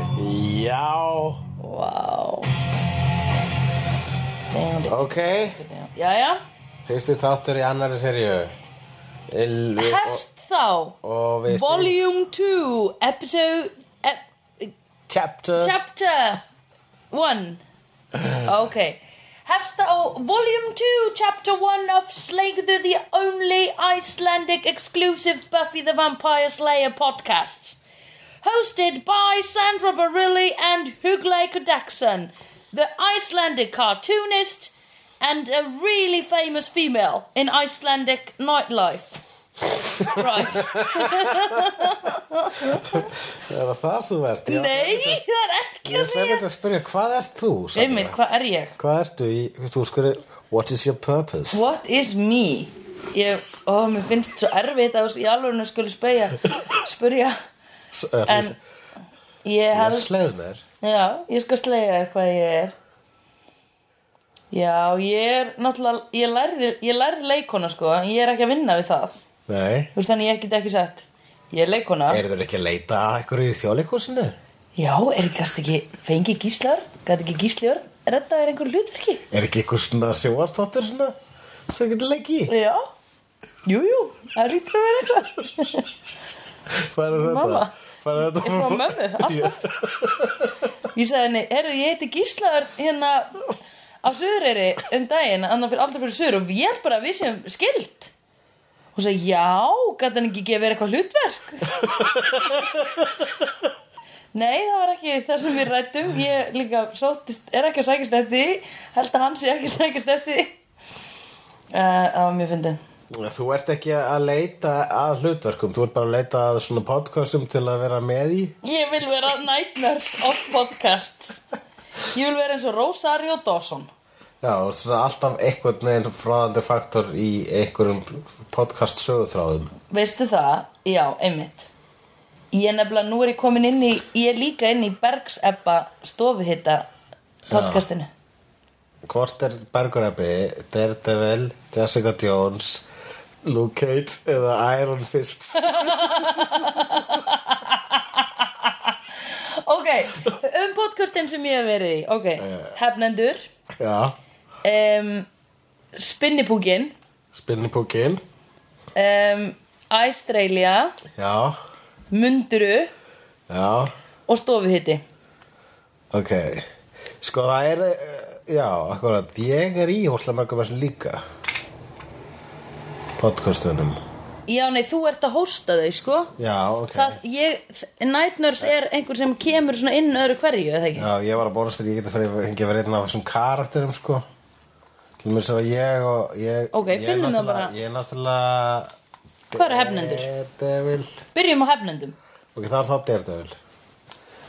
er Ok, Jæja, fyrsti þáttur í annari serju Il, hefst þá og, og við Volume 2 Episode ep, Chapter Chapter 1 Ok Hefst þá oh, Volume 2 Chapter 1 of Slayðu the only Icelandic exclusive Buffy the Vampire Slayer podcast Hosted by Sandra Barilli and Hugley Kodakson The Icelandic cartoonist and a really famous female in Icelandic nightlife Right Er það það sem þú ert? Já. Nei, það er Ég er ekki að sem segja þetta að spyrja, hvað ert þú? Sandra? Einmitt, hvað er ég? Hvað ertu í, þú skurði What is your purpose? What is me? Ég, ó, mér finnst svo erfitt að þessu í alvörinu skuli spyrja Spyrja En En, ég ég held er sleið mér Já, ég skal slega þér hvað ég er Já, ég er náttúrulega Ég lærði, ég lærði leikona sko En ég er ekki að vinna við það Þú Nei, veist þannig ég get ekki sagt Ég er leikona eru þeir ekki að leita að einhverju í þjóðleikúsinu? Já, er gæst ekki Fengi gíslaörn, gæti ekki gíslaörn Redda er einhver hlutverki Er ekki einhver svona sjóarstóttur svona sem getur leiki? Já, jú, jú, það lítur að vera eitthvað Færa þetta Mamma. Færa þetta Ég frá mömmu, alltaf Ég sagði henni, herru, ég heiti Gíslaður hérna á Suðureyri um daginn, annar fyrir aldrei fyrir Suður og ég held bara að við séum skilt og sagði, já, gæti hann ekki gefið þér eitthvað hlutverk Nei, það var ekki það sem við rættum ég líka sóttist, er ekki að sækist eftir því. held að hann sé ekki að sækist eftir því. Eh, Það var mjög fyndin Þú ert ekki að leita að hlutverkum, þú ert bara að leita að svona podcastum til að vera með í. Ég vil vera Nightmares of Podcasts Ég vil vera eins og Rosario Dawson Já, og svona alltaf einhvern veginn fráðandi faktor í einhverjum podcast sögutráðum. Veistu það? Já, einmitt Ég er nefnilega, nú er ég komin inn í Ég er líka inn í Bergseppa stofuhitta podcastinu Hvort er Bergurabbi, Daredevil, Jessica Jones, Luke Cage eða Iron Fist? Ok, um podcastin sem ég hef verið í Ok, hefnendur Já, um, Spinnipúkin Spinnipúkin, um, Æstreilja já, Munduru já, Og stofuhitti ok. Sko það er, eh, já, akkurat, ég er í hóslega mörgum þessum líka. Podcastunum. Já, nei, þú ert að hósta þau, sko Já, ok. Það, ég, þ- Night Nurse er einhver sem kemur svona inn öðru hverju, eða ekki? Já, ég var að bónast til ég geti fyrir hengi að vera einn af þessum karakterum sko til mér sem að ég og ég, Ok, ég er finnum það náttúrulega- bara. Ég er náttúrulega Hvað eru hefnendur? Daredevil Byrjum á hefnendum. Ok, það er þá Daredevil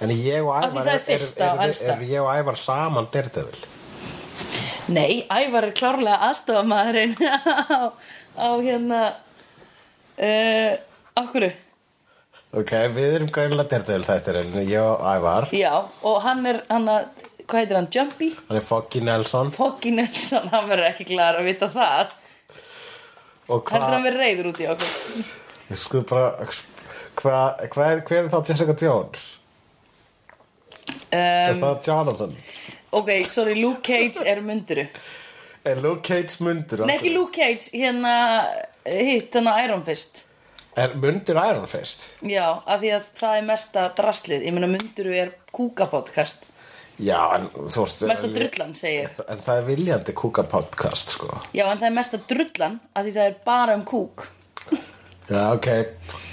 En ég og Af því Ævar það er fyrsta og er, elsta. er ég og Ævar saman Daredevil Nei, Ævar er klárlega aðstofamæðurinn á, á hérna, uh, okkur, Ok, við erum greinilega Daredevil þættir en ég og Ævar já, og hann er, hann að, hvað heitir hann, Jumpy? Hann er Foggy Nelson Foggy Nelson, hann verður ekki klár að vita það. Og Heldur hvað hann verður reyður út í okkur. Ég skulum bara Hvað hva er, hver er þá Jessica Jones? Um, er það Jonathan? ok, sorry, Luke Cage er munduru. Er Luke Cage mundur? Nei, ekki Luke Cage, hérna, hitt, hérna Iron Fist. Er mundur Iron Fist? Já, af því að það er mesta draslið Ég meina munduru er kúkapodcast Já, en þú veist Mesta drullan, segi ég En það er viljandi kúka podcast, sko Já, en það er mesta drullan af því það er bara um kúk Já, ok,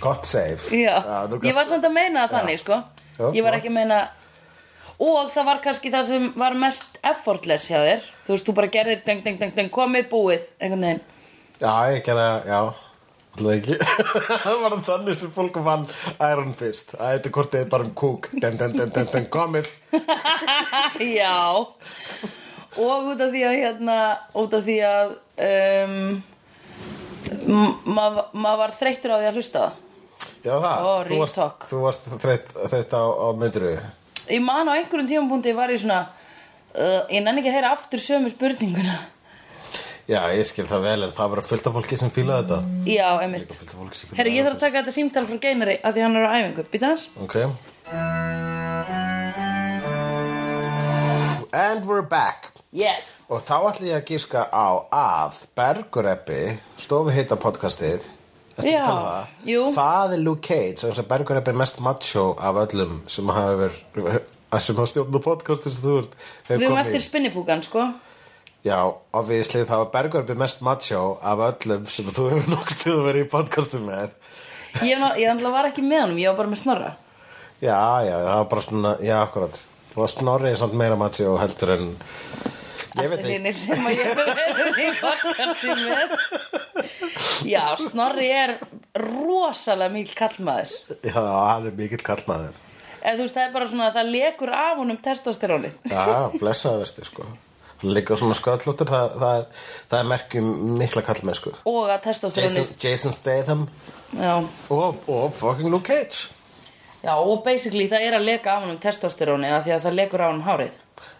gott save Já, nú ég kannski- var samt að meina það þannig, sko Já, Ég var flott. ekki að meina Og það var kannski það sem var mest effortless hjá þér Þú veist, þú bara gerðir deng, deng, deng, deng, komið búið Einhvern veginn Já, ég gerði, já Alltaf ekki Það var þannig sem fólk vann Iron Fist Æ, þetta hvort þið er bara um kúk Den, den, den, den, den, komið Ah, Já Og út af því að hérna Út af því að um, m- Maður ma var þreyttur á því að hlusta á það Já, það Ó, Þú real varst, talk. þú varst þreytt, þreytt á, á mynduru Ég man á einhverjum tímapunkti var ég svona uh, Ég nenni ekki að heyra aftur sömu spurninguna Já, ég skil það vel En það var fullt af fólki sem fílaði þetta Já, emitt Fullt af fólki sem Herru, fílaði ég þarf að taka þetta símtal frá Geinari af því hann er á æfingu, býta hans Ok And we're back Yes Og þá ætlum ég að gíska á að Bergureppi, stofu heita podcastið, ertu ekki Já, að tala um það? jú. Það er Luke Cage, þannig að Bergureppi er mest macho af öllum sem hafa verið, að sem hafa stjórnum podcastið sem þú ert. hefur Við erum komið í. eftir spinnipúkan, sko. Já, obviously þá er Bergureppi mest macho af öllum sem þú hefur nokkuð til að vera í podcastið með. Ég, ná- ég náttúrulega var ekki með honum, ég var bara með snorra. Já, já, það var bara svona, já, akkurat. Það var snorrið samt meira macho heldur en, ég veit Allir ekki. hinir sem að ég hef verið í podcasti með. Já, Snorri er rosalega mikil kallmaður. Já, hann er mikill kallmaður. Eða þú veist, það er bara svona að það lekur af honum testosteróni. Já, blessaði vesti sko Hann Líka svona sköllóttur það, það, er- það er merkjum mikla kallmenn sko Og að testosteróni... Jason, Jason Statham Já, og, og fucking Luke Cage já, og basically það er að leka af honum testosteróni að því að það lekur af honum hárið.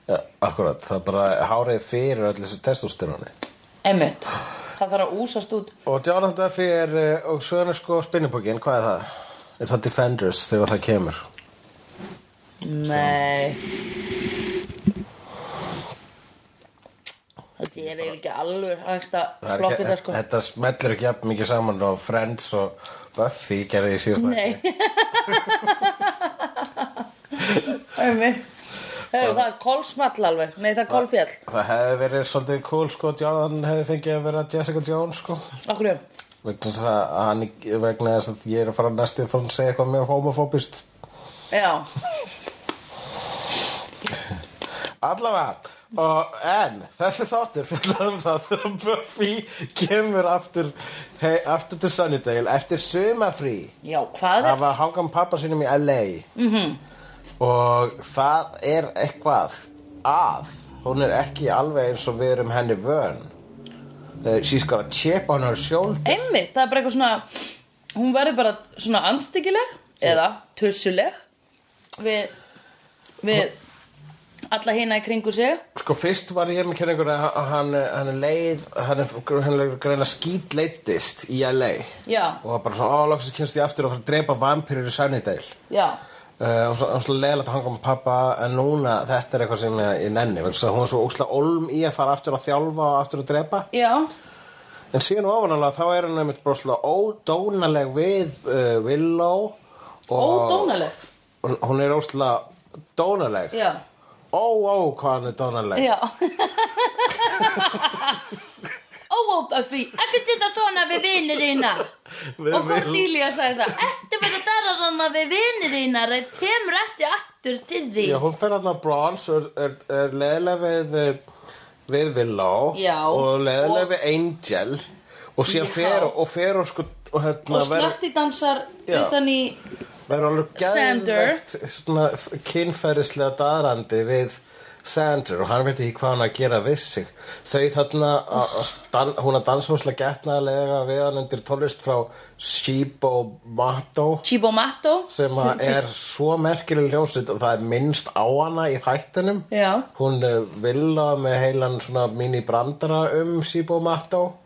ja, Akkurat, það er bara hárið fyrir öll þessu testosteroni Einmitt. Það þarf að úsast út. Og Jonathan Duffy er, eh, og svo er hann sko spinnipokkin, hvað er það? Er það Defenders þegar það kemur? Nei Þetta er eiginlega ekki alveg hægt að Það er flokka ekki- þetta sko Þetta smetlur ekki jafn mikið saman og Friends og Buffy gerði í síðasta Nei Æmi Hefur það kolsmall alveg Nei það er kolfjall Það hefði verið svolítið cool sko, Jonathan hefði fengið að vera Jessica Jones sko Okkur um vegna þess að hann vegna þess að ég er að fara næstu fyrir að segja eitthvað mjög homofóbist Já allavega, og, en þessi þáttur fjallar um það þegar Buffy kemur aftur hey, aftur til Sunnydale eftir sumafrí Já hvað það er var að hanga um pappa sínum í LA -hmm. og það er eitthvað að hún er ekki alveg eins og við erum henni vön Eh, she's got a chip on her shoulder Einmitt það er bara eitthvað svona Hún verður bara svona andstyggileg Eða tussuleg Við Við Alla hina í kringu sig Sko fyrst var ég með kynningur að að hann, hann er leið, hann er, hann er greinlega skýt leittist í LA Já og var bara svona, ó, loksins kynst ég aftur og fara að drepa vampýrur í Sunnydale Já uh, og svo- og svo leiðilegt að hanga með pappa en núna þetta er eitthvað sem ég, ég nenni vegna þess að hún er svo óslega olm í að fara aftur að þjálfa og aftur að drepa Já en síðan ofanalega þá er hann einmitt bara svona ódónaleg við uh, Willow og Ódónaleg hún, hún er óslega dónaleg Já ó, ó, hvað hann er dónaleg Já Ó, ó, Buffy, ekki þetta svona við vinir þína Við- Og Cordelia sagði það Ekki verið að dara svona við vinir þína Það kemur ekki aftur til því Já, hún fer hann að Bronze og er, er, er leðilega við eh, við Willow Já. og leðilega Og- við Angel og síðan Já. fer og fer og sko og hérna Og verður slatti dansar Já. utan í verður alveg Sander. gæðvegt svona kynferðislega daðrandi við Sander og hann veit ekki hvað hann á að gera við sig þau þarna að- að dan, hún að dansa húslega getnaðlega við hann undir tónlist frá Shibo Mato Chibomato sem að er svo merkileg ljósitt og það er minnst á hana í þættinum Já. hún eh, villa með heilan svona mini brandara um Sibo Matto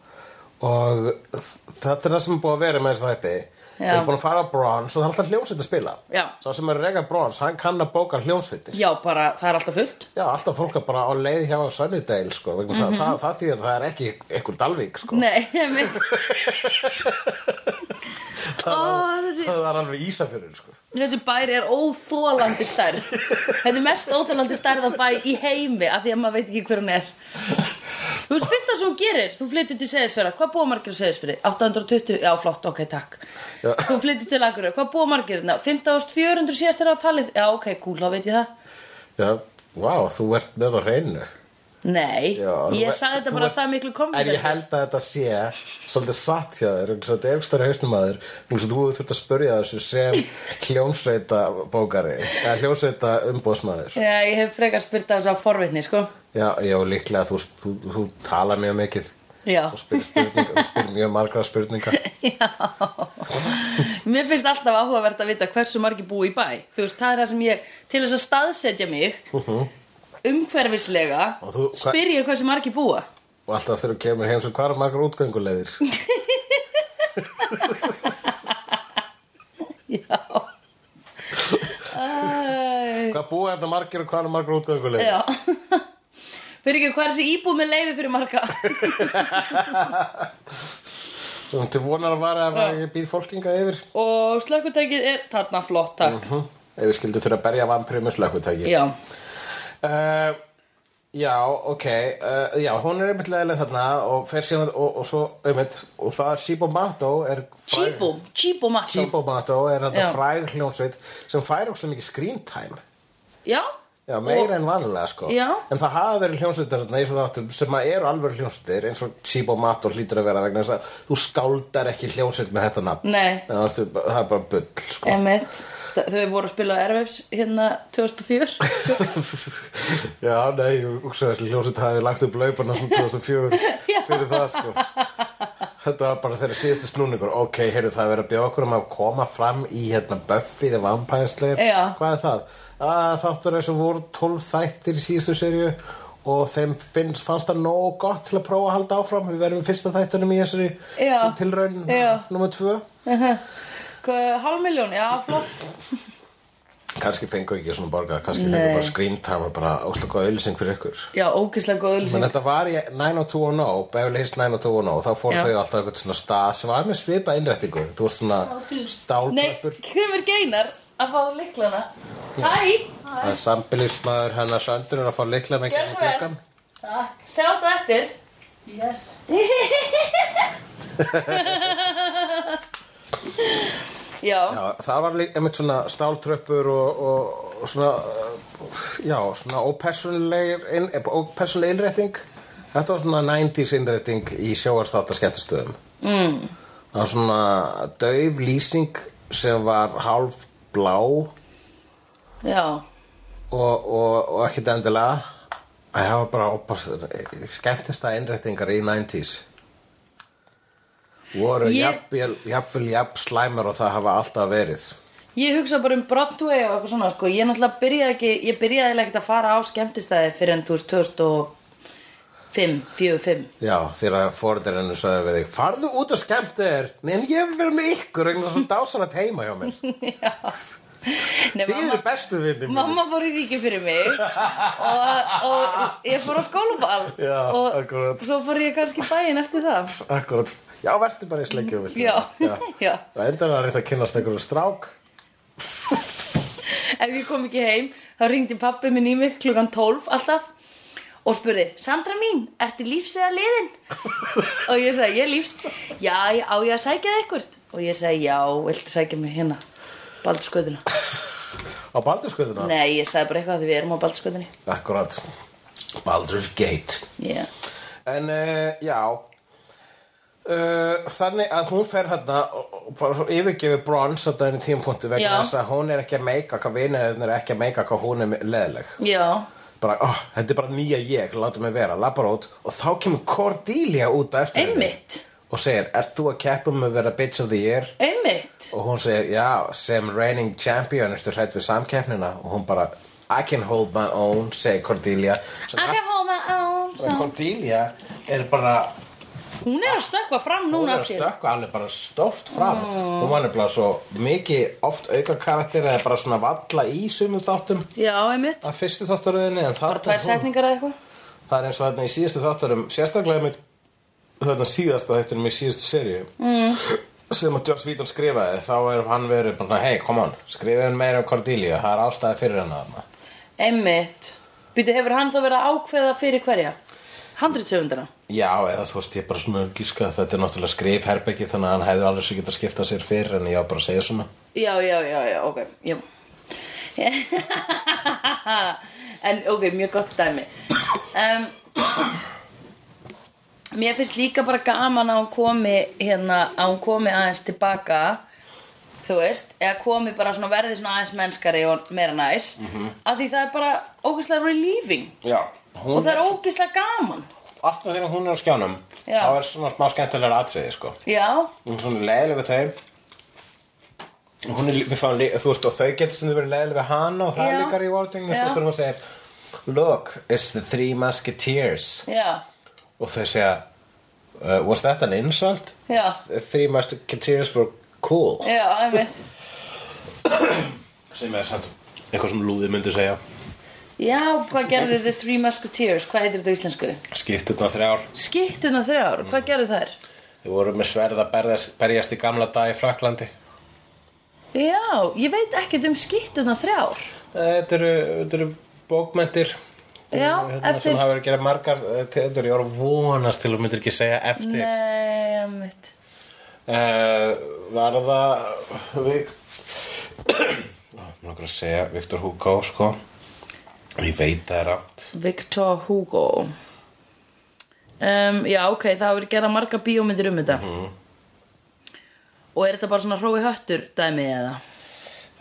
og þ- þetta er það sem er búið að vera með þessu þætti Já. við erum búin að fara að Bronze og það er alltaf hljómsveit að spila Já. sá sem er að rega Bronze, hann kann að bóka hljómsveitir Já, bara, það er alltaf fullt já, alltaf fólk er bara á leið hjá Sunnydale sko, vegna mm -hmm. það, það þýðir að það er ekki einhver Dalvík sko Mhm. Nei, einmitt. Ó, þessi, það er alveg Ísafjörður sko þessi bær er óþólandi stærð Þetta er mest óþólandi stærð af bæ í heimi af því að maður veit ekki hver hún er Þú veist fyrst það sem hún gerir Þú flyttur til Seyðisfjörða, hvað búa margir á Seyðisfjörði? 820, já flott, ok, takk Já. Þú flyttur til Akureyri, hvað búa margir hérna? 5400 síðast er á talið Já, ok, cool, þá veit ég það já, wow, þú ert með á hreinu Nei, Já, þú ég ve- sagði þú þetta bara ve- það miklu En ég komið held að þetta sé svolítið satt hjá þér, eins og þetta er ekki stærra hausnum að þér, eins og þú hefur þurft að spurja þessu sem hljómsveita bókari, eða hljómsveita umbóðsmaður. Já, ég hef frekar spyrt af þess að forvitni, sko Já, já, líklega þú, þú, þú tala mjög mikið Já, og spyr, spurninga, spyr mjög margra spurninga. Mér finnst alltaf áhugavert að vita hversu margir búi í bæ Þú veist, það er það sem ég, til þess að staðsetja mig umhverfislega Og þú- hva- spyr ég hversu margir búa Og alltaf þegar þú kemur heim sem hvað er margar útgöngulegðir? Já Æ, Hvað búa þetta margir og hvað er margar útgöngulegðir? Já Fyrir ekki, hvað er þessi íbúð með leiði fyrir marga? Þú til vonar að vara ef ég býð fólkingað yfir Og slökkutækið er þarna flott, takk. hm? Ef við skildum þurfa að berja vampirinn með slökkutæki Já. Eh, já, ok uh, Já, hún er einmitt leðileg þarna og fer síðan og, og svo einmitt og það er Shibo Mato er fræg- Chibo, Chibo Matto. Shibo Mato er þetta Já. fræg hljónsveit sem fær óslega mikið screen time Já. Já, meira en vanlega sko Já. En það hafa verið hljónsveitar þarna eins og þáttum sem að eru alveg hljónsveitir eins og Shibo Mato hlýtur að vera vegna þess að þú skáldar ekki hljónsveit með þetta nafn Nei. Það ertu- það er bara bull sko Emmett. Þau voru að spila Airwaves hérna 2004. Já, nei, ég hugsaði þessi hljóset hafi lagt upp laupana sem 2004 fyrir það, sko. Þetta var bara þeirra síðustu snúningur. Ok, heyrðu, það er verið að bjóða okkur um að koma fram í hérna Buffy the Vampire Slayer. Já. Hvað er það? Að þáttur þessu voru 12 þættir í síðustu serju og þeim finnst, fannst það nógu gott til að prófa að halda áfram. Við verðum í fyrsta þættunum í þessari Já. tilraun Já. nummer 2. Halvmiljón, já, flott. Kanski fengu ekki svona borgað, kannski fengu Nei. bara screentime og bara óslega góða auðlýsing fyrir ykkur. Já, ógislega góð Men auðlýsing. þetta var í 90210, Beverly Hills 90210, oh, þá fór Já. þau alltaf eitthvað svona stað sem var með svipa innrættingu. Þú varst svona Nei, stálbreppur. kemur geinar að fá liklana. Hæ, Það er sambilismæður hennar Söndur er að fá leikla með Gjörðu svo vel. gluggann. Takk. sjástu eftir. Yes. Já, Já, það var líka einmitt svona stáltröppur og, og, og svona, uh, já, svona ópersónuleg inn, ópersónuleg innrætting. Þetta var svona 90s innrætting í sjóarstáta skemmtustöðum. Mm. Það var svona dauf lýsing sem var hálf blá já, og, og, og ekkert endilega að það var bara, bara skemmtista innrættingar í 90s voru Ég- jafnvel, jafnvel jafn slæmar og það hafa alltaf verið ég hugsa bara um Broadway og eitthvað svona, sko. Ég náttúrulega byrjaði ekki, ég byrjaði eiginlega ekkert að fara á skemmtistæði fyrir en, þú veist, 2005, 4, 5. já, þegar fóreldrarinn sagði við þig farðu út og skemmt þér en ég vil vera með ykkur vegna þess að dásanat heima hjá mér Nei, þið eru bestu vinnir mín Mamma fór í ríki fyrir mig og, og ég fór á skólaball Já, og akkúrat. svo fór ég kannski í bæinn eftir það akkurat, já, verður bara í sleikju Já, já. það endur að reynda að kynnast einhverju strák Ef ég kom ekki heim þá ringdi pappi minn í mig klukkan 12 alltaf og spurði Sandra mín, ertu lífs eða liðin? og ég sagði, ég er lífs Já, ég- á ég að sækja það eitthvað? Og ég sagði, já, viltu sækja mig hérna Baldsköðuna á baldursköðuna Nei, ég sagði bara eitthvað því við erum á Baldsköðunni akkurat, Baldur's Gate Já, En uh, já uh, Þannig að hún fer hérna og og bara svo yfirgefur brons á daginu tímapunktu vegna Já. þess að hún er ekki að meika hvað vinirinn er ekki að meika hvað hún er leðileg já, bara, oh, þetta er bara nýja ég, látum mig vera labbar út og þá kemur Cordelia út á eftir henni einmitt og segir, ert þú að keppa um að vera bitch of the year? Einmitt og hún segir, já, sem reigning champion ertu hrætt við samkeppnina og hún bara, I can hold my own segir Cordelia sem I can hold my own allt- Cordelia er bara Hún er að stökkva fram hún er núna að allt í einu. stökkva alveg bara stórt fram hún var nefnilega svo mikið oft auka karakter eða bara svona valla í sumum þáttum Já, einmitt að fyrstu þáttaröðinni en Bara tvær þáttum hún setningar eða eitthvað það er eins og þarna í síðustu þáttarum sérstaklega með þarna síðasta þáttunum í síðustu seríu mm. sem að Joss Vítor skrifaði þá er hann verið bara hei come on skrifaði hann meira um Cordelia það er ástæði fyrir hennar þarna Einmitt Býtu, hefur hann þá verið að ákveða fyrir hverja? Handritöfundina Já, eða þú veist, ég bara svona gíska að þetta er náttúrulega skrifherbergi þannig að hann hefði alveg svo geta skipta sér fyrir en ég á bara að segja svona Já, já, já, já, ok Já En, ok, mjög gott dæmi um, Mér finnst líka bara gaman að hún komi hérna, að hún komi aðeins tilbaka þú veist, eða komi bara svona verði svona aðeins mennskari og meira næs af því það er bara ógæslega relieving Já, hún og það er ógeðslega gaman allt með þegar hún er á skjánum Já. þá er svona smá skemmtilega atriði sko já, hún er svona leiðileg við þau Og hún er, lí- við fáum, lí- þú veist, og þau getur sem þau verið leiðileg við hana og það Já. er líka rewarding og Já. svo þurfum við að segja look, it's the three musketeers já, og þau segja uh, was that an insult? Já. the three musketeers were cool já, einmitt sem er samt eitthvað sem lúði myndi segja Já, hvað gerðu The Three Musketeers? Hvað heitir þetta á íslensku? Skipturna þrjár. Skittuna þrjár, Mm. hvað gerðu þær? Við vorum með sverð að berjast, berjast í gamla dag í Fraklandi. Já, ég veit ekkert um skittuna þrjár Þetta eru, þetta eru bókmyndir Já, hérna, eftir- sem hafa verið að gera margar eh, tegundur. Ég var að vonast til að þú myndir ekki segja eftir. Nei, mitt Uh, var það Vík Nókur að segja Viktor Hugo sko Ég veit það er rátt Victor Hugo um, Já, ok, það hafa verið gerða marga bíómyndir um þetta Mhm. Og er þetta bara svona hrói höttur dæmi eða?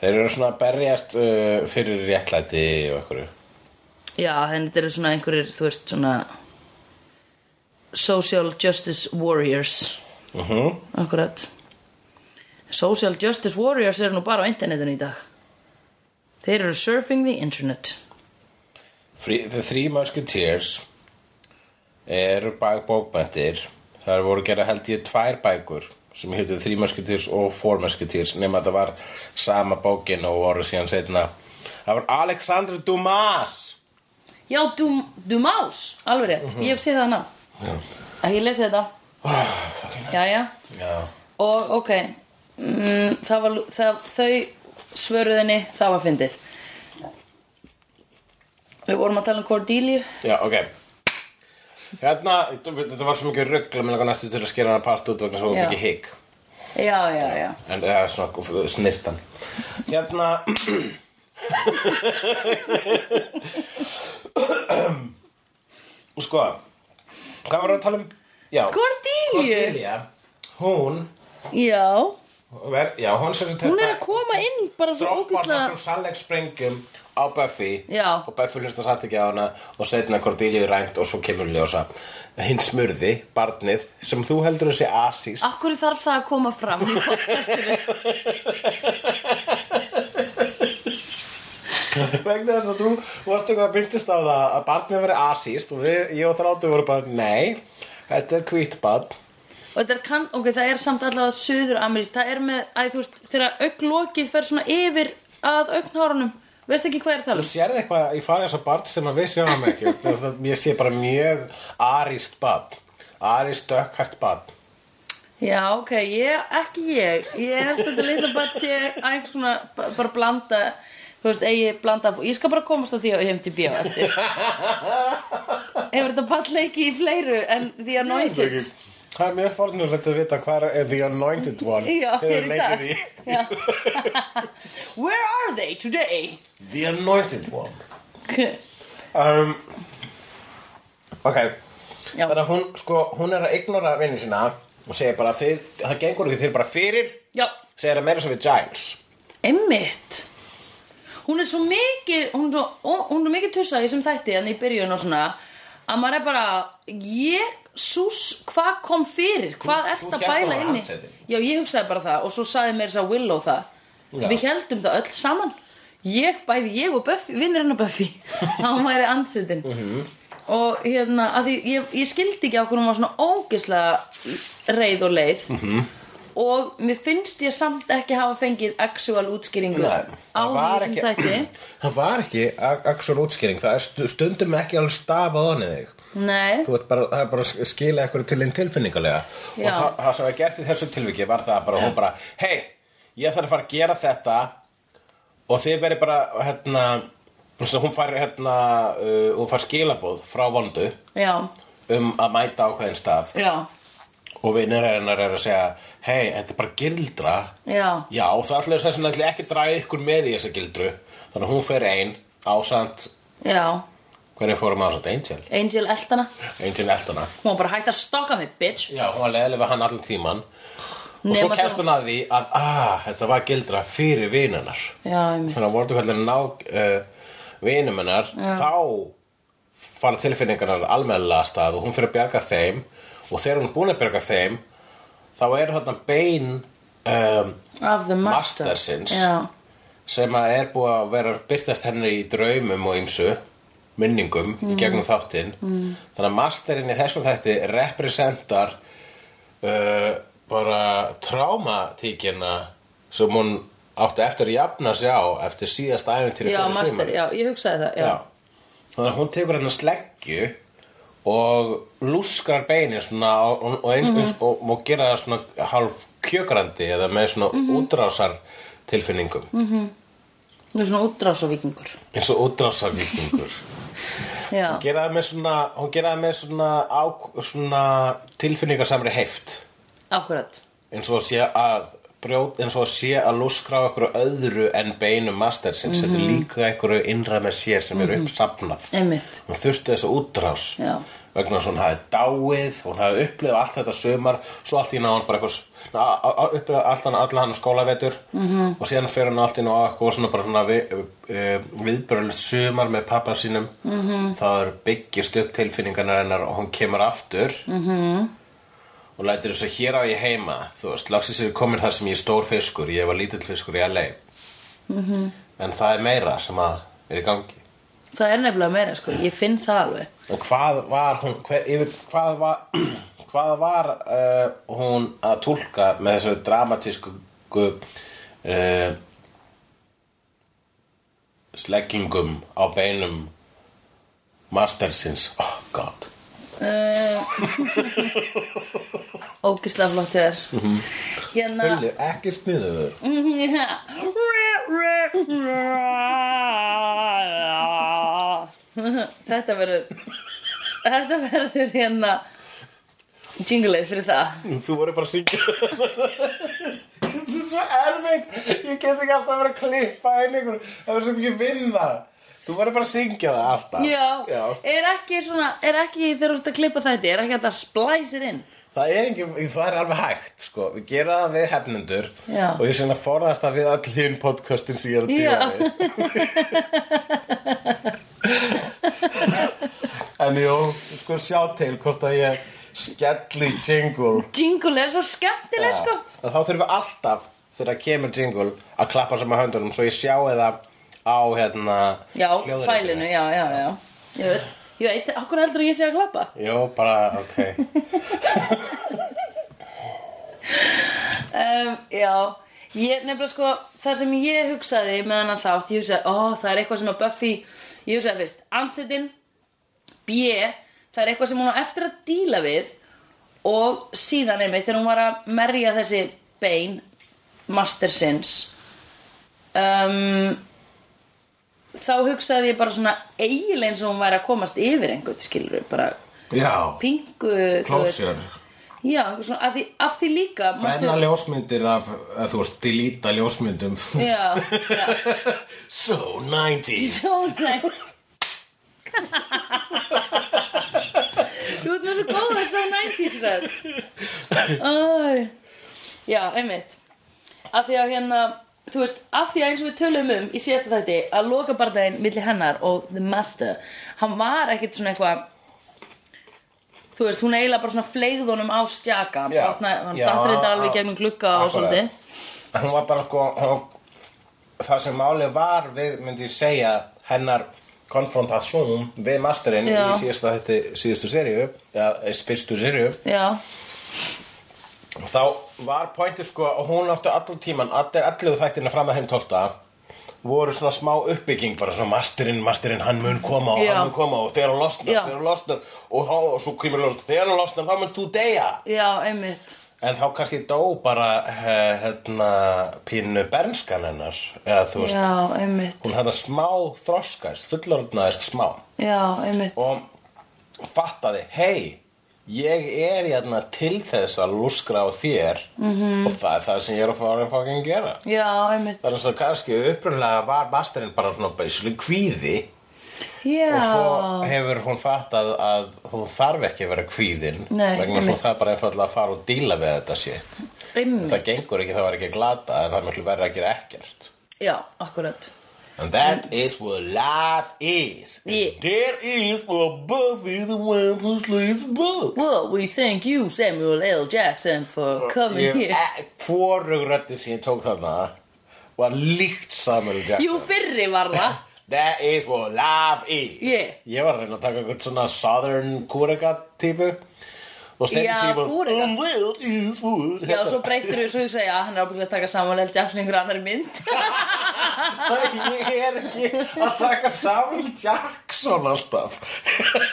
Þeir eru svona að berjast uh, fyrir réttlæti og einhverju Já, þannig þetta eru svona einhverjir, þú veist, svona Social Justice Warriors uh -huh. Akkurat Social Justice Warriors eru nú bara á internetinu í dag Þeir eru surfing the internet Free, The Three Musketeers eru bæk bókbættir Það voru gera held ég tvær bækur sem hétu Three Musketeers og Four Musketeers nema þetta var sama bókin og voru síðan setna Það var Alexandre Dumas Já, Dum Dumás, alveg rétt, ég hef séð það ná Já, Ekki ég lesi þetta Ah, Já, já, Já. og ok mm, það var, það, Þau svöruðinni, það var fyndið Við vorum að tala um Cordelia Já, ok Hérna, þetta var svo mikið ruggla með langar næstu til að skera hana part út vegna svo Já. mikið higg Já, já, já En það er svona snirtan Hérna Sko Hvað var að tala um? Já, Cordelia Cordelia Hún Já, ver, Já, hún sem þetta hún er að koma inn bara svo Droppar ógæslega nokkrum sannleiksprengjum á Buffy Já. og Buffy hlustar satt ekki á hana og setna Cordelia er rænt og svo kemur hún ljósa hinn smurði, barnið sem þú heldur þessi asís Akkur þarf það að koma fram í podcastinu vegna þess að þú varst eitthvað að byrtist á það að barnið veri asíst og við, ég og þráttu voru bara nei, þetta er hvít barn Og þetta er kann, ok, það er samt allavega söður amerísk, það er með, að þú veist, þegar augnlokið fer svona yfir að augnhárunum, veist ekki hvað ég er að tala Þú um? sérði eitthvað í farið þessa barn sem að við sjáum ekki Þess að ég sé bara mjög arist barn arist dökkhært barn Já, ok, ég, ekki ég, ég held að þetta litla bara sé einhvers svona, b- bara blanda, þú veist, eigi blanda, af- ég skal bara komast að því að heim til bíó eftir. Hefur þetta bara leikið í fleiru en The Anointed? Það er mjög fornulegt að vita hvað er The Anointed One Já, hefur hér í leikið dag. í. Já. Where are they today? The Anointed One um, Ok Já. Þannig að hún, sko, hún er að ignora vinnin sína og segir bara þið, það gengur ekki þið bara fyrir Já, segir það meira svo við Giles Einmitt Hún er svo mikið Hún er svo, ó- hún er mikið tussa í þessum þætti En í byrjun og svona Að maður er bara Ég, sús, hvað kom fyrir? Hvað ert þú hélst að hún bæla var inni? handsetin. Já, ég hugsaði bara það Og svo sagði mér þess að Willow það Já. Við heldum það öll saman Ég, bæði ég og Buffy, vinnir hennar Buffy Að hún væri andsetin Og hérna, að því ég, ég skildi ekki á hvernig hún var svona ógislega reið og leið Mhm. og mér finnst ég samt ekki hafa fengið actual útskýringu Nei, á það því var sem ekki- þætti Það var ekki axur útskýring það er stu- stundum ekki alveg stafað onnið þig Nei, Þú ert bara, það er bara að skila eitthvað til einn tilfinningalega Já. og það, það sem var gert í þessu tilviki var það bara, hún bara, hei, ég þarf að fara að gera þetta og þið verið bara, hérna eins og hún fær, hérna, uh, hún fær skilabóð frá vondu já, um að mæta ákveðin stað já, og vinnur hennar er að segja hei, þetta er bara gildra já já, og það ætlaði þess að ætli ekki að draga ykkur með í þessa gildru þannig að hún fer ein ásamt, já, hvernig fórum við ásamt Angel Angel Eltana Angel Eltona hún var bara hægt að stokka mig, bitch Já, hún var leiðileg við hann allan tíman Og Nema svo þú- kemst hún að því að ah, þetta var gildra fyrir vinunar Já, einmitt. Þannig að voru hvernig ná uh, vinum hennar Þá fara tilfinningarnar almennilega af stað og hún fyrir að bjarga þeim Og þegar hún er búin að bjarga þeim Þá er þarna bein um, Of the master Mastersins. Já, sem að er búið að vera byrtast henni í draumum og ýmsu minningum í gegnum þáttinn mm. þannig að masterinn í þessum þætti representar uh, bara trámatíkina sem hún átti eftir að jafna sig á eftir síðast æfintýri já, master, já, ég hugsaði það Já, Já. þannig að hún tekur hérna sleggju og lúskar beinið svona og, og- og, eins, eins, og, og gera það svona hálf kjökrandi eða með svona útrásar tilfinningum Hún er svona útrás og vikingur. eins og útrásarvíkingur Já. gera það með svona, hún gera það með svona, á, svona tilfinningasamri heift Akkurat. eins og sé að brjót, eins og sé að lúskra á einhverju öðru en beinum mastersins þetta er líka einhverju innra með sér sem er uppsafnað Einmitt. hún þurfti þessa útrás Já. vegna þess að hún hafi dáið hún hafi upplifað allt þetta sömar svo allt í náðan bara eitthvað na, a, a, upplifað allt hann, allan hann skólavetur Mhm. -hmm. og síðan fer hann allt í náðan eitthvað svona bara svona vi, uh, viðbörulegt sömar með pappa sínum Mhm. -hmm. það er byggjast upp tilfinningarnar hennar og hún kemur aftur -hmm. Mhm. og lætur þess að hér á ég heima þú veist, lagsins er komin þar sem ég er stór fiskur ég var lítill fiskur í LA -hmm. Mhm. en það er meira sem að er í gangi Það er nefnilega meira, sko. Ég finn það alveg. Og hvað var hún, hver, yfir, hvað var, hvað var uh, hún að túlka með þessu dramatísku uh, sleggingum á beinum mastersins? Oh god. Ógislega Eh, flott þér. Mm -hmm. Hérna... mhm, Hullu, ekki sniður. Þetta verður Þetta verður hérna Jingleið fyrir það Mm, Þú voru bara að syngja. Þetta er svo erfitt. Ég get ekki alltaf að vera að klippa einu ykkur. Það er svo mikið vinna. Þú voru bara að syngja það alltaf. Já, Já. er ekki svona Er ekki þegar þú ert að klippa þetta Er ekki að það splæsir inn Það er, engin, það er alveg hægt sko. Við gera það við hefnendur Já. Og ég sinna forðast það við öll hinn podcastin sem ég er að Já. dýra við En jú, við sko sjá til hvort að ég skelli jingle Jingle er svo skemmtileg sko Að Þá þurfum við alltaf þegar kemur jingle að klappa saman höndunum Svo ég sjáu það á hérna Já, hljóðritinu. fælinu, já, já, já Ég veit, ég veit, okkur heldur að ég sé að klappa Jú, bara, ok um, Já, ég nefnilega sko Það sem ég hugsaði með hann þátt Ég hugsaði, ó, það er eitthvað sem að Buffy Ég hugsaði fyrst, ansettin B, það er eitthvað sem hún á eftir að díla við Og síðan einmitt Þegar hún var að merja þessi bein Mastersins um, Þá hugsaði ég bara svona eiginlega eins og hún væri að komast yfir einhvern skilur bara Já, pingu þú Closure. veist. Já, einhver svona, af því, af því líka manstu- brenna ljósmyndir af, eða þú veist, delita ljósmyndum Já, já, So 90s svo næ Þú ert með svo góða svo 90s rödd Æ. Já, einmitt Af því að hérna Þú veist, af því að eins og við tölum um í síðasta þætti að loka barðaðin milli hennar og The Master, hann var ekkit svona eitthvað þú veist, hún eiginlega bara svona fleigð honum á stjaka, hann Já. brotnaði- hann Já, dættur þetta alveg já. í gegnum glugga og Akkurat. svolítið Hún var bara sko hún, Það sem málið var við myndi ég segja hennar konfrontasjón við masterinn Já. í síðasta þetta síðustu seríu eða eh, fyrstu seríu Já, þá var pointið sko og hún átti allan tíman allir 11 þættina fram að þeim 12 voru svona smá uppbygging bara svona masterinn, masterinn, hann mun koma og Já. hann mun koma og þegar hann losnar, Já. þegar hann losnar og, þá, og svo kemur losnar, þegar hann losnar þá mun þú deyja já, einmitt En þá kannski dó bara he, hérna, pínu bernskan hennar eða þú veist, Já, einmitt hún hérna smá þroskaðist, fullorðnaðist smá Já, einmitt og fattaði, hei ég er hérna til þess að lúskra á þér Mhm. -hmm. og það er það sem ég er að fara að fucking gera Já, einmitt Það er eins og kannski upprunlega var masterinn bara svona beislu kvíði og svo Já, hefur hún fattað að hún þarf ekki að vera kvíðin Nei, vegna svo einmitt. það er bara einfallega að fara og díla við þetta shit einmitt það gengur ekki, það var ekki að glata en það er miklu verið að gera ekkert Já, akkurat and that is what life is And Yeah. there is what Buffy the one who sleeps book Well, we thank you Samuel L. Jackson for coming here e- hvorug röddi sem ég tók þarna var líkt Samuel Jackson Jú, fyrri var það that is what life is Yeah. ég var að reyna að taka einhvern svona southern kúrega típu og stendi Já, típu kúreka. and that is what Já, svo breytir við svo hugsa Já, hann er ábyggilega að taka Samuel L. Jackson í einhver annar mynd ég er ekki að taka Samuel Jackson alltaf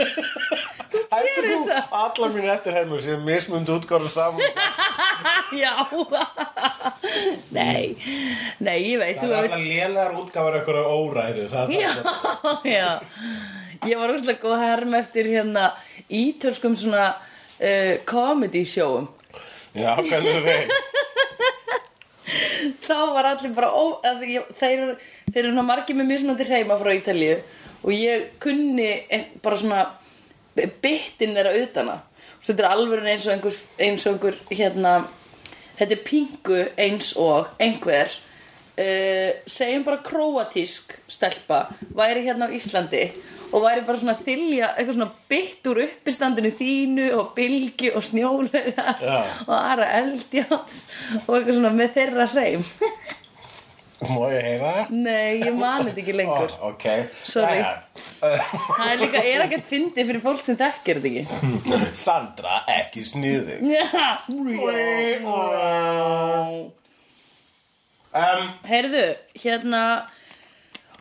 heldur þú það? alla mín eftir hefnum sem mismund útgáður Samuel Jackson Já Nei Nei, ég veit það þú er veit alla lélegar útgáður ekkur á óræðu það, Já, það, já Ég var óslega góð að herma eftir hérna ítölskum svona uh, comedy sjóum já, hvernig er þeim þá var allir bara ó, að ég, þeir, eru- þeir eru svona margir með mismunandi hreima frá Ítalíu og ég kunni ein- bara svona byttin þeirra utana og þetta er alveg eins og einhver, eins og einhver hérna, þetta er pingu eins og einhver uh, segjum bara króatísk stelpa væri hérna á Íslandi og væri bara svona að þylja eitthvað svona bytt úr uppistandinu þínu og bylgi og snjólega Já. og aðra eldjáts og eitthvað svona með þeirra hreim má ég heyra það? Nei, ég mani þetta ekki lengur Ó, Ah, ok, Sorry. Jæja. Það er líka, er ekkert fyndið fyrir fólk sem þekkir þetta ekki Sandra er ekki sniðu Já. um, Heyrðu, hérna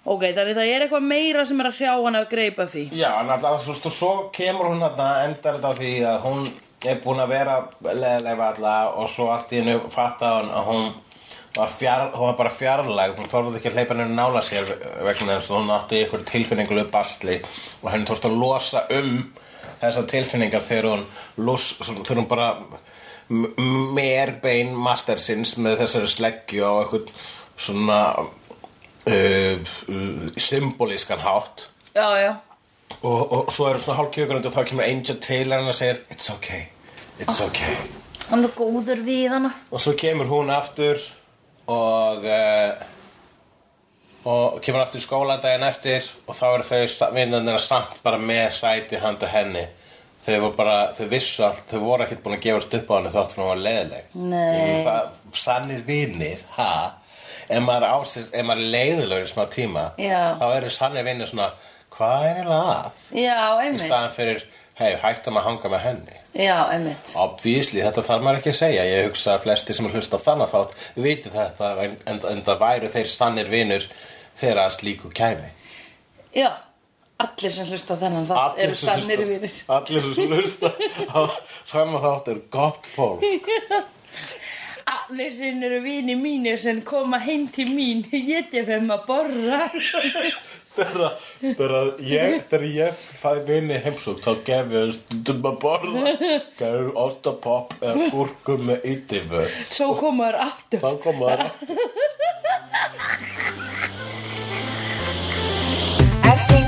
Ok, þannig það er eitthvað meira sem er að hrjá hann að greipa því Já, en alltaf, þú veist, og svo kemur hún þarna, endar þetta á því að hún er búin að vera leðileg alla og svo allt í hennu fattaði hún að hún var, fjar, hún var bara fjarlæg, hún þorði ekki að hleypa henni nála sér vegna þess að hún átti ykkur tilfinninguleg basli og henni tókst að losa um þessar tilfinningar þegar hún, los, þegar hún bara merbein mastersins með þessari sleggju á eitthvað svona uh, uh, symbolískan hátt Já, já og, og svo eru svona hálfkjökunandi og þá kemur Angel Taylor hann og segir it's okay, it's okay Hann er góður við hana og svo kemur hún aftur og uh, og kemur aftur í skóla daginn eftir og þá eru þau vinnarnir samt bara með sæti handa henni þau voru bara, þau vissu allt þau voru ekkert búin að gefast upp á henni þátt hún var leiðileg Nei. Ég meina, það, sannir vinnir, ha ef maður, á sér, ef maður er leiðilegur í smá tíma Já. þá eru sannir vinnir svona hvað er eiginlega að Já, í einmitt staðan fyrir hei, hættum að hanga með henni Já, einmitt obvísli, þetta þarf maður ekki að segja ég hugsa að flesti sem hlusta á þannig þátt viti þetta, en, en, en það væru þeir sannir vinur þegar að slíku kæmi Já, allir sem hlusta á þennan það sem eru hlusta- sannir vinir allir sem hlusta á þannig þátt er gott fólk Allir sem eru vinir mínir sem koma heim til mín E ég gef þeim að borra þegar þegar ég, þegar ég fæði vinni heimsók þá gef ég stundum að borða gef ég ostapopp eða gúrku með ytifu Svo koma þær aftur þá koma það aftur I've seen